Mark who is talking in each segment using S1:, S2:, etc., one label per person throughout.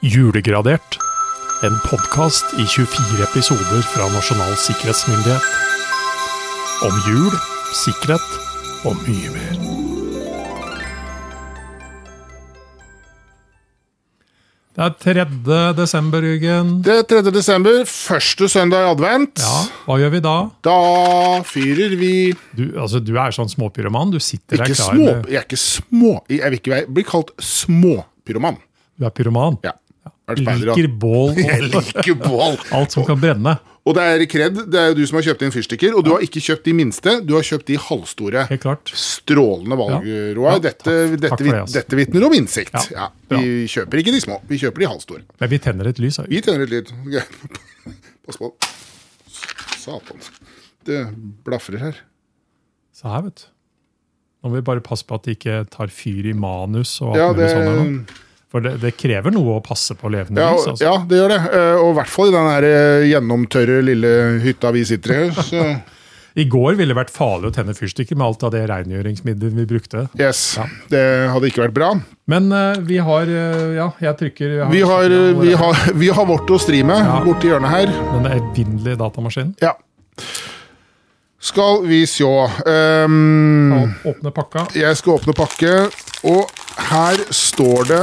S1: Julegradert. En podkast i 24 episoder fra Nasjonal sikkerhetsmyndighet. Om jul, sikkerhet og mye mer. Det er 3. desember, Jørgen.
S2: Det er 3. desember, første søndag i advent.
S1: Ja, Hva gjør vi da?
S2: Da fyrer vi
S1: Du, altså, du er sånn småpyroman. Du sitter
S2: Ikke
S1: der klar
S2: små...
S1: med
S2: Jeg er ikke små... Jeg vil ikke være- bli kalt småpyroman.
S1: Du er pyroman.
S2: Ja. Er det speider, da?
S1: Liker bål
S2: Jeg
S1: og
S2: liker bål.
S1: alt som kan brenne.
S2: Og det er kred. Det er jo du som har kjøpt inn fyrstikker. Og du har ikke kjøpt de minste, du har kjøpt de halvstore.
S1: Helt klart.
S2: Strålende valg,
S1: Ja.
S2: Roar.
S1: Ja,
S2: dette,
S1: takk. Takk
S2: dette,
S1: for
S2: vit-
S1: det, altså.
S2: dette vitner om innsikt.
S1: Ja.
S2: Ja. Vi kjøper ikke de små, vi kjøper de halvstore.
S1: Men vi tenner et lys. her.
S2: Vi tjener et litt. Ok. Pass på. Satan. Det blafrer her.
S1: Se her, vet du. Nå må vi bare passe på at de ikke tar fyr i manus. og alt
S2: Ja,
S1: mulig
S2: det,
S1: sånt. her nå. For det, det krever noe å passe på levende
S2: ja,
S1: lys. Altså.
S2: ja, det gjør det. Eh, Og i hvert fall i den her eh, gjennomtørre lille hytta vi sitter i. Så,
S1: I går ville det vært farlig å tenne fyrstikker med alt av det rengjøringsmiddelet vi brukte.
S2: yes. Det hadde ikke vært bra.
S1: Men eh, vi har eh, Ja, jeg trykker jeg
S2: Vi har, eh,
S1: ja, hvor
S2: vi
S1: er
S2: har, vi har vårt å stri med borti hjørnet her.
S1: den evinnelige datamaskinen.
S2: Ja. Skal vi sjå Ehm,
S1: Og åpne pakka.
S2: Jeg skal åpne pakke, og her står det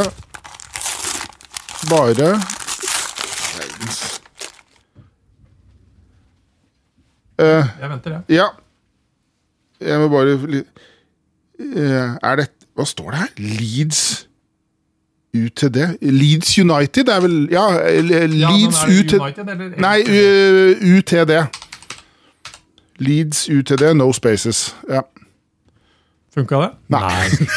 S2: bare Verdens. Eh,
S1: Jeg venter, jeg.
S2: ja. Jeg må bare li- eh, Er det Hva står det her? Leeds UTD? Leeds United er vel Ja, eh,
S1: Ja, men
S2: Leeds
S1: er det
S2: UTD
S1: United, eller?
S2: Nei, U- UTD. Leeds UTD, no spaces. Ja.
S1: Funka det?
S2: Nei.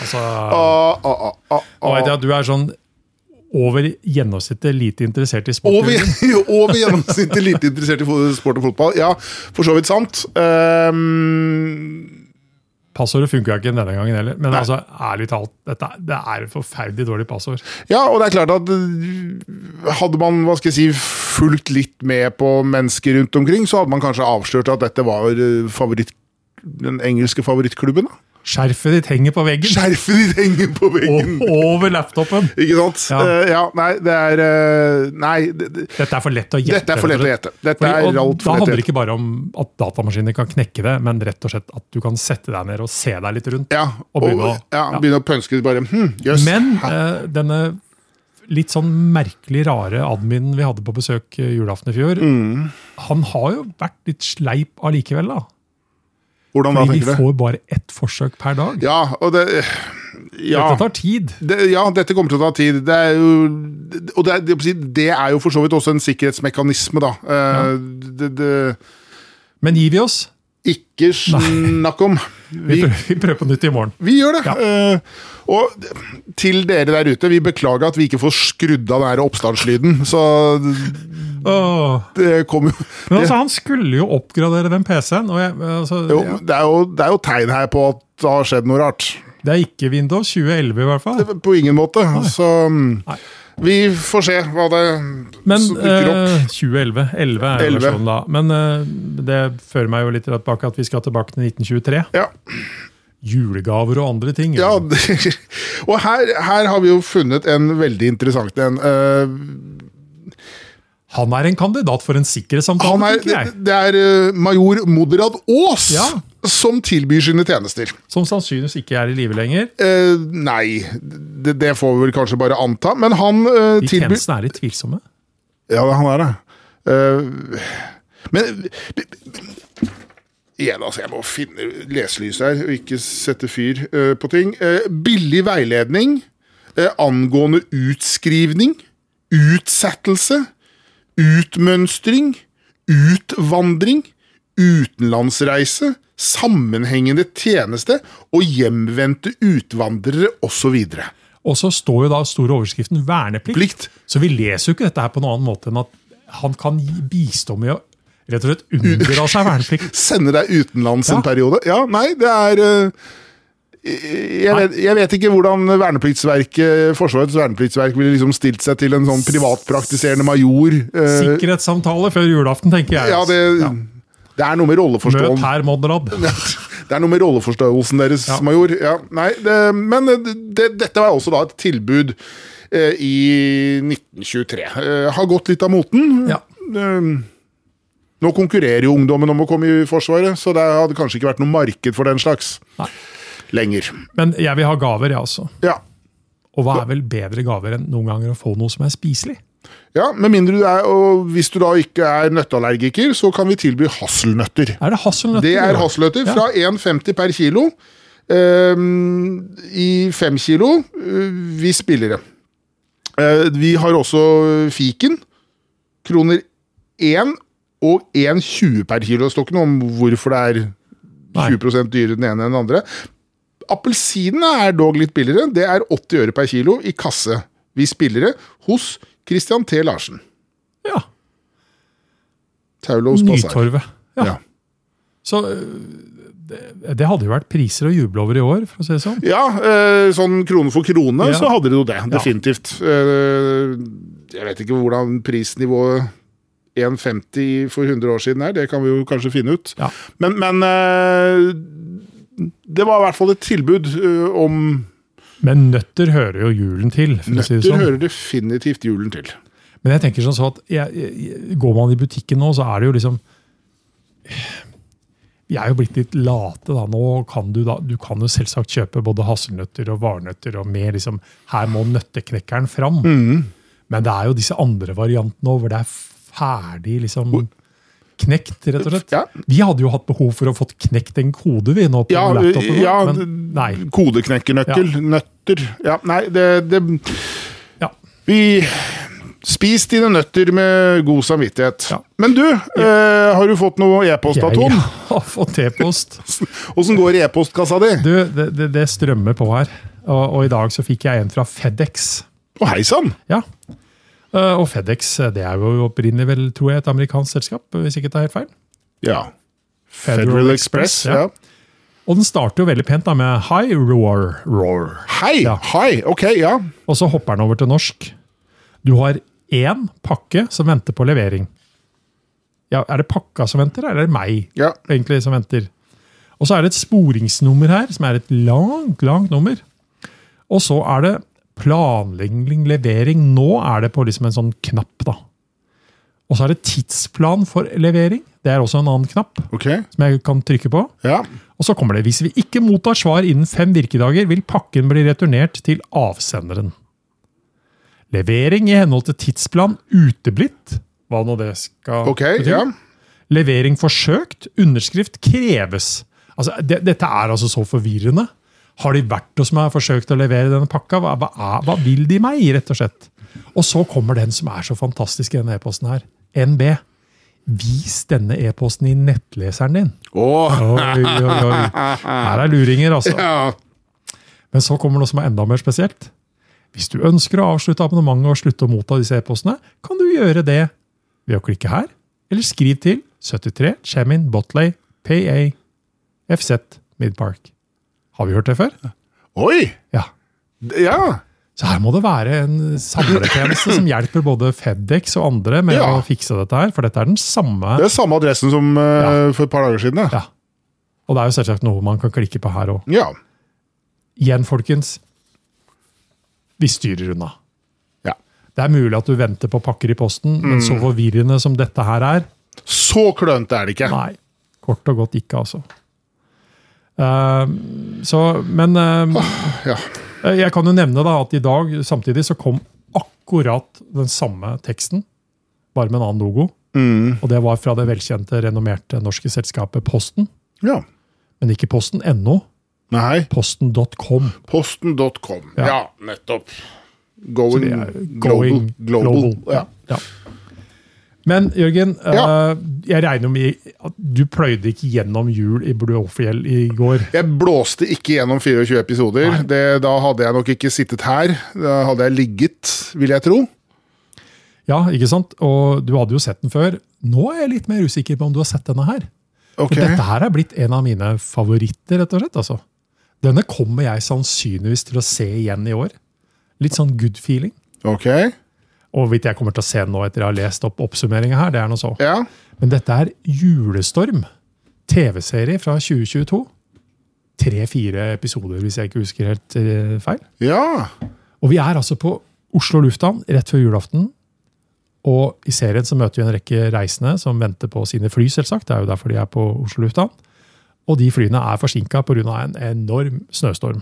S1: altså
S2: Ah, ah, ah, ah, ah.
S1: Nå vet jeg at du er sånn over gjennomsnittet lite interessert i sport.
S2: Over,
S1: Jørgen.
S2: over gjennomsnittet lite interessert i fo- sport og fotball. Ja, for så vidt sant. Ehm,
S1: Passordet funka ikke denne gangen heller. Men altså, ærlig talt, dette, er- det er et forferdelig dårlig passord.
S2: ja, og det er klart at øh, hadde man hva skal jeg si, fulgt litt med på mennesker rundt omkring, så hadde man kanskje avslørt at dette var øh, favoritt, den engelske favorittklubben. da.
S1: Skjerfet ditt henger på veggen
S2: Skjerfet ditt henger på veggen!
S1: og over laptopen!
S2: Ikke sant?
S1: Ja.
S2: Eh, ja, nei, det er øh, Nei, det, det,
S1: Dette er for lett å gjette.
S2: dette er for lett å gjette. Dette
S1: Fordi-
S2: er
S1: og
S2: alt
S1: da
S2: for
S1: handler
S2: lett å
S1: det
S2: gjette.
S1: ikke bare om at datamaskiner kan knekke det, men rett og slett at du kan sette deg ned og se deg litt rundt.
S2: Ja,
S1: Og
S2: og,
S1: begynne å-
S2: ja,
S1: ja.
S2: begynne å pønske ut bare hm, jøss.
S1: Men eh, denne litt sånn merkelig rare adminen vi hadde på besøk eh, julaften i fjor,
S2: Mm.
S1: han har jo vært litt sleip allikevel, da.
S2: Hvordan da,
S1: Fordi de
S2: tenker du?
S1: får bare ett forsøk per dag.
S2: Ja, og det Ja.
S1: Dette tar tid.
S2: det, ja, dette kommer til å ta tid. Det er jo, og det er, det å si, det er jo for så vidt også en sikkerhetsmekanisme, da. Eh, det, det,
S1: Men gir vi oss?
S2: ikke snakk om.
S1: Vi
S2: Vi,
S1: prøver, vi prøver på nytt i morgen.
S2: vi gjør det. Eh, og til dere der ute, vi beklager at vi ikke får skrudd av den her oppstartslyden. Så
S1: Åh.
S2: det kommer jo
S1: Men altså, han skulle jo oppgradere den PC-en. og jeg- Altså,
S2: jo,
S1: ja,
S2: det, er jo, det er jo tegn her på at det har skjedd noe rart.
S1: det er ikke Windows 2011, i hvert fall.
S2: På ingen måte. Så mm,
S1: Nei.
S2: vi får se hva det
S1: Men
S2: som dukker opp.
S1: eh, 2011 11 er jo
S2: 11.
S1: versjonen da. Men eh, det fører meg jo litt tilbake at vi skal tilbake til 1923.
S2: Ja.
S1: Julegaver og andre ting.
S2: Ja, det- og her, her har vi jo funnet en veldig interessant en. Eh,
S1: Han er en kandidat for en sikkerhetssamtale,
S2: han er,
S1: tenker jeg.
S2: det er eh, major Moderat Aas
S1: Ja.
S2: som tilbyr sine tjenester.
S1: Som sannsynligvis ikke er i live lenger.
S2: Eh, nei, det, det får vi vel kanskje bare anta, men han eh,
S1: De
S2: tilbyr
S1: tjenestene er litt tvilsomme.
S2: Ja, han er det. Eh, men Igjen, altså. Jeg må finne leselys her, og ikke sette fyr eh, på ting. Eh, billig veiledning eh, angående utskrivning, utsettelse, utmønstring, utvandring, utenlandsreise, sammenhengende tjeneste og hjemvendte utvandrere osv.
S1: Og så står jo da store overskriften verneplikt.
S2: Plikt.
S1: Så vi leser jo ikke dette her på noen annen måte enn at han kan gi- bistå med å rett og slett unndra seg verneplikt.
S2: sende deg utenlands
S1: Ja.
S2: en periode. Ja, nei, det er eh, jeg vet, jeg vet ikke hvordan vernepliktsverket, Forsvarets vernepliktsverk ville liksom stilt seg til en sånn privatpraktiserende major. eh,
S1: Sikkerhetssamtale før julaften, tenker jeg.
S2: ja, det, det er noe med
S1: Møt
S2: rolleforståelsen.
S1: her, Monrad.
S2: Det er noe med rolleforståelsen deres,
S1: Ja.
S2: major. Ja, nei, det, men eh, det, dette var også da et tilbud eh, i 1923. Eh, har gått litt av moten.
S1: Ja.
S2: Eh, nå konkurrerer jo ungdommen om å komme i Forsvaret, så det hadde kanskje ikke vært noe marked for den slags
S1: Nei.
S2: lenger.
S1: Men jeg vil ha gaver, jeg også.
S2: Ja.
S1: Og hva er vel bedre gaver enn noen ganger å få noe som er spiselig?
S2: ja, Med mindre du er Og hvis du da ikke er nøtteallergiker, så kan vi tilby hasselnøtter.
S1: Er det hasselnøtter?
S2: Det er
S1: da?
S2: hasselnøtter
S1: Ja.
S2: fra 1,50 per kilo ehm, i 5 kilo eh, hvis billigere. Eh, vi har også fiken. Kroner 1 og 1,20 per kilo. Det står ikke noe om hvorfor det er
S1: Nei.
S2: 20 dyrere den ene enn den andre. Appelsinene er dog litt billigere. Det er 80 øre per kilo i kasse hvis billigere hos Christian T. Larsen.
S1: Ja.
S2: Taulos Basar.
S1: Nytorvet. Ja.
S2: Ja.
S1: Så øh, det, det hadde jo vært priser å juble over i år, for å si det sånn.
S2: Ja, eh, sånn krone for krone,
S1: Ja.
S2: så hadde de jo det. Definitivt. Eh, Jeg vet ikke hvordan prisnivået 1,50 for 100 år siden er, det kan vi jo kanskje finne ut.
S1: Ja.
S2: Men, men eh, det var i hvert fall et tilbud eh, om
S1: Men nøtter hører jo julen til. for å si
S2: Nøtter
S1: det sånn.
S2: hører definitivt julen til.
S1: Men jeg tenker sånn så at jeg, jeg, går man i butikken nå, så er det jo liksom Vi er jo blitt litt late da. Nå kan du da, du kan jo selvsagt kjøpe både hasselnøtter og varnøtter og mer liksom Her må nøtteknekkeren fram.
S2: Mm.
S1: Men det er jo disse andre variantene òg, hvor det er ferdig liksom knekt, rett og slett.
S2: Ja.
S1: Vi hadde jo hatt behov for å fått knekt en kode, vi, nå på
S2: Ja,
S1: laptopen. vår,
S2: ja,
S1: men nei.
S2: Kodeknekkernøkkel, nøtter Ja, nei, det, det
S1: Ja.
S2: Vi Spis dine nøtter med god samvittighet.
S1: Ja.
S2: Men du, eh, har du fått noe e-post av
S1: Jeg
S2: Tom?
S1: har fått T-post.
S2: Åssen går e-postkassa di?
S1: Du, det, det, det strømmer på her. Og, og i dag så fikk jeg en fra Fedex.
S2: Å, hei sann!
S1: Ja. Eh, Og Fedex eh, det er jo opprinnelig vel, tror jeg, et amerikansk selskap, hvis ikke jeg tar helt feil.
S2: Ja.
S1: Federal Express, ja.
S2: ja.
S1: Og den starter jo veldig pent da med High Roar. Roar.
S2: Hei!
S1: Ja.
S2: Hei! Ok, ja.
S1: Og så hopper den over til norsk. Du har én pakke som venter på levering. Ja, Er det pakka som venter, eller er det meg
S2: ja.
S1: egentlig som venter? Og så er det et sporingsnummer her, som er et langt, langt nummer. Og så er det planlegging levering. Nå er det på liksom en sånn knapp, da. Og så er det tidsplan for levering. Det er også en annen knapp
S2: Ok.
S1: som jeg kan trykke på.
S2: Ja.
S1: Og så kommer det hvis vi ikke mottar svar innen fem virkedager, vil pakken bli returnert til avsenderen. Levering i henhold til tidsplan uteblitt. Hva nå det skal
S2: Ok, ja.
S1: Levering forsøkt. Underskrift kreves. Altså, det, dette er altså så forvirrende. Har de vært hos meg og forsøkt å levere denne pakka? Hva, hva, er, hva vil de meg, rett og slett? Og så kommer den som er så fantastisk i denne e-posten her. NB. Vis denne e-posten i nettleseren din.
S2: Åh.
S1: Oi, oi, oi. Her er luringer, altså.
S2: Ja.
S1: Men så kommer noe som er enda mer spesielt. Hvis du ønsker å avslutte abonnementet og slutte å motta disse e-postene, kan du gjøre det ved å klikke her, eller skriv til 73 Chemin Botley PA FZ Midpark. Har vi hørt det før?
S2: Oi!
S1: Ja.
S2: Ja.
S1: Så her må det være en samletjeneste som hjelper både Fedex og andre med
S2: Ja.
S1: å fikse dette her, for dette er den samme.
S2: Det er samme adressen som eh, for et par dager siden, ja.
S1: Ja. Og det er jo selvsagt noe man kan klikke på her òg.
S2: Ja.
S1: Igjen, folkens. Vi styrer unna.
S2: ja.
S1: Det er mulig at du venter på pakker i posten, men så forvirrende som dette her er
S2: Så klønete er det ikke.
S1: Nei. Kort og godt ikke, altså. Ehm, så, men ehm,
S2: Ja.
S1: jeg kan jo nevne da at i dag samtidig så kom akkurat den samme teksten, bare med en annen logo. Og det var fra det velkjente, renommerte norske selskapet Posten.
S2: ja.
S1: Men ikke posten.no,
S2: Nei.
S1: posten.com.
S2: Posten.com. Ja.
S1: Ja.
S2: nettopp. Going,
S1: det er
S2: global.
S1: going
S2: global.
S1: Mm. global.
S2: Ja.
S1: Ja. Men Jørgen,
S2: Ja.
S1: eh, jeg regner med at du pløyde ikke gjennom jul i Blåfjell i går.
S2: Jeg blåste ikke gjennom 24 episoder.
S1: Nei.
S2: Det, da hadde jeg nok ikke sittet her. Da hadde jeg ligget, vil jeg tro.
S1: Ja, ikke sant? Og du hadde jo sett den før. Nå er jeg litt mer usikker på om du har sett denne her. For
S2: Ok.
S1: dette her er blitt en av mine favoritter, rett og slett. altså. Denne kommer jeg sannsynligvis til å se igjen i år. Litt sånn good feeling.
S2: Ok.
S1: Og hvorvidt jeg kommer til å se den nå etter jeg har lest opp oppsummeringen her, det er noe så.
S2: Ja.
S1: Men dette er Julestorm, TV-serie fra 2022. tre-fire episoder, hvis jeg ikke husker helt eh, feil.
S2: Ja.
S1: Og vi er altså på Oslo lufthavn rett før julaften. Og i serien så møter vi en rekke reisende som venter på sine fly, selvsagt. Det er jo derfor de er på Oslo lufthavn. Og de flyene er forsinka pga. en enorm snøstorm.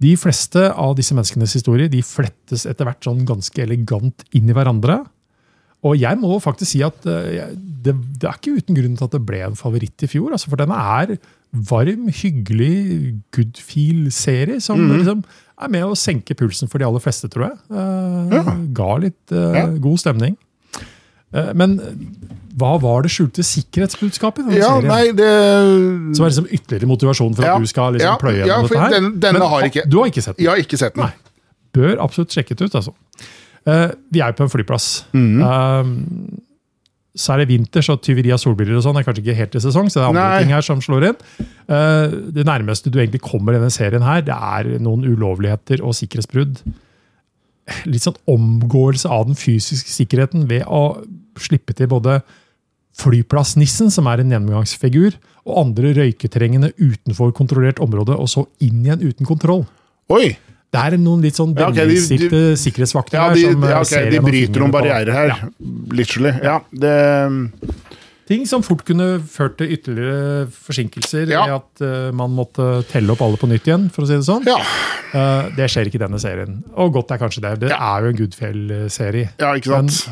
S1: De fleste av disse menneskenes historier de flettes etter hvert sånn ganske elegant inn i hverandre. Og jeg må faktisk si at eh, jeg- det, det er ikke uten grunn til at det ble en favoritt i fjor. Altså, for den er varm, hyggelig, good feel-serie som
S2: Mhm.
S1: liksom er med å senke pulsen for de aller fleste, tror jeg. Eh,
S2: Ja.
S1: Ga litt eh,
S2: Ja.
S1: god stemning. Eh, men hva var det skjulte sikkerhetsbudskapet? i denne
S2: ja,
S1: serien?
S2: nei, det
S1: Som er liksom ytterligere motivasjon for at
S2: Ja,
S1: du skal liksom
S2: ja,
S1: pløye
S2: ja,
S1: gjennom
S2: for
S1: dette her.
S2: den- denne har jeg ikke.
S1: Du har ikke sett den?
S2: Jeg har ikke sett den.
S1: Nei. Bør absolutt sjekket ut, altså. Eh, vi er jo på en flyplass. Eh, så er det vinter, så tyveri av solbriller og sånn er kanskje ikke helt i sesong. så det er andre
S2: Nei.
S1: ting her som slår inn. Eh, det nærmeste du egentlig kommer denne serien her, det er noen ulovligheter og sikkerhetsbrudd. Litt sånn omgåelse av den fysiske sikkerheten ved å slippe til både flyplassnissen, som er en gjennomgangsfigur, og andre røyketrengende utenfor kontrollert område, og så inn igjen uten kontroll.
S2: Oi!
S1: Det er noen litt sånn
S2: Ja, ok, de-
S1: velsikte sikkerhetsvakter
S2: Ja,
S1: her.
S2: de,
S1: som eh,
S2: ja, ok,
S1: ser
S2: de
S1: gjennom
S2: bryter
S1: fingrene på
S2: noen barrierer her. Literally. Ja, det
S1: Ting som fort kunne ført til ytterligere forsinkelser.
S2: Ja.
S1: i At eh, man måtte telle opp alle på nytt igjen, for å si det sånn.
S2: Ja,
S1: Eh, det skjer ikke i denne serien. Og godt er kanskje det. Det er jo en Goodfell-serie.
S2: ja ikke sant.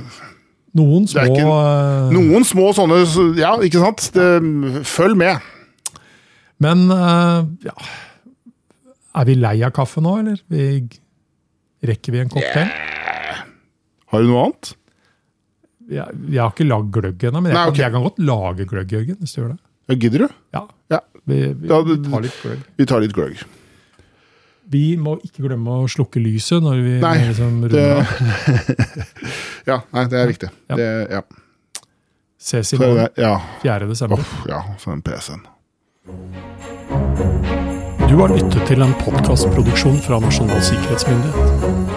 S1: Noen
S2: er
S1: små
S2: ikke-
S1: eh,
S2: Noen små sånne Ja, ikke sant? Det, følg med.
S1: Men eh, ja Er vi lei av kaffe nå, eller? Vi, rekker vi en kopp til?
S2: Har du noe annet?
S1: Jeg, jeg har ikke lagd gløgg ennå, men jeg,
S2: Nei, ok.
S1: kan, jeg kan godt lage gløgg, Jørgen. hvis du gjør det.
S2: Ja, gidder du?
S1: Ja,
S2: Ja,
S1: vi, vi,
S2: Ja,
S1: vi
S2: det-
S1: tar litt gløgg.
S2: vi tar litt gløgg.
S1: Vi må ikke glemme å slukke lyset når vi
S2: Nei,
S1: liksom
S2: Det,
S1: runder av.
S2: ja, nei, det er riktig.
S1: Ja.
S2: Det, ja.
S1: Ses i
S2: Så,
S1: morgen,
S2: ja.
S1: 4. desember.
S2: Uff, ja, for en PC-en.
S1: Du har lyttet til en podkastproduksjon fra Nasjonal sikkerhetsmyndighet.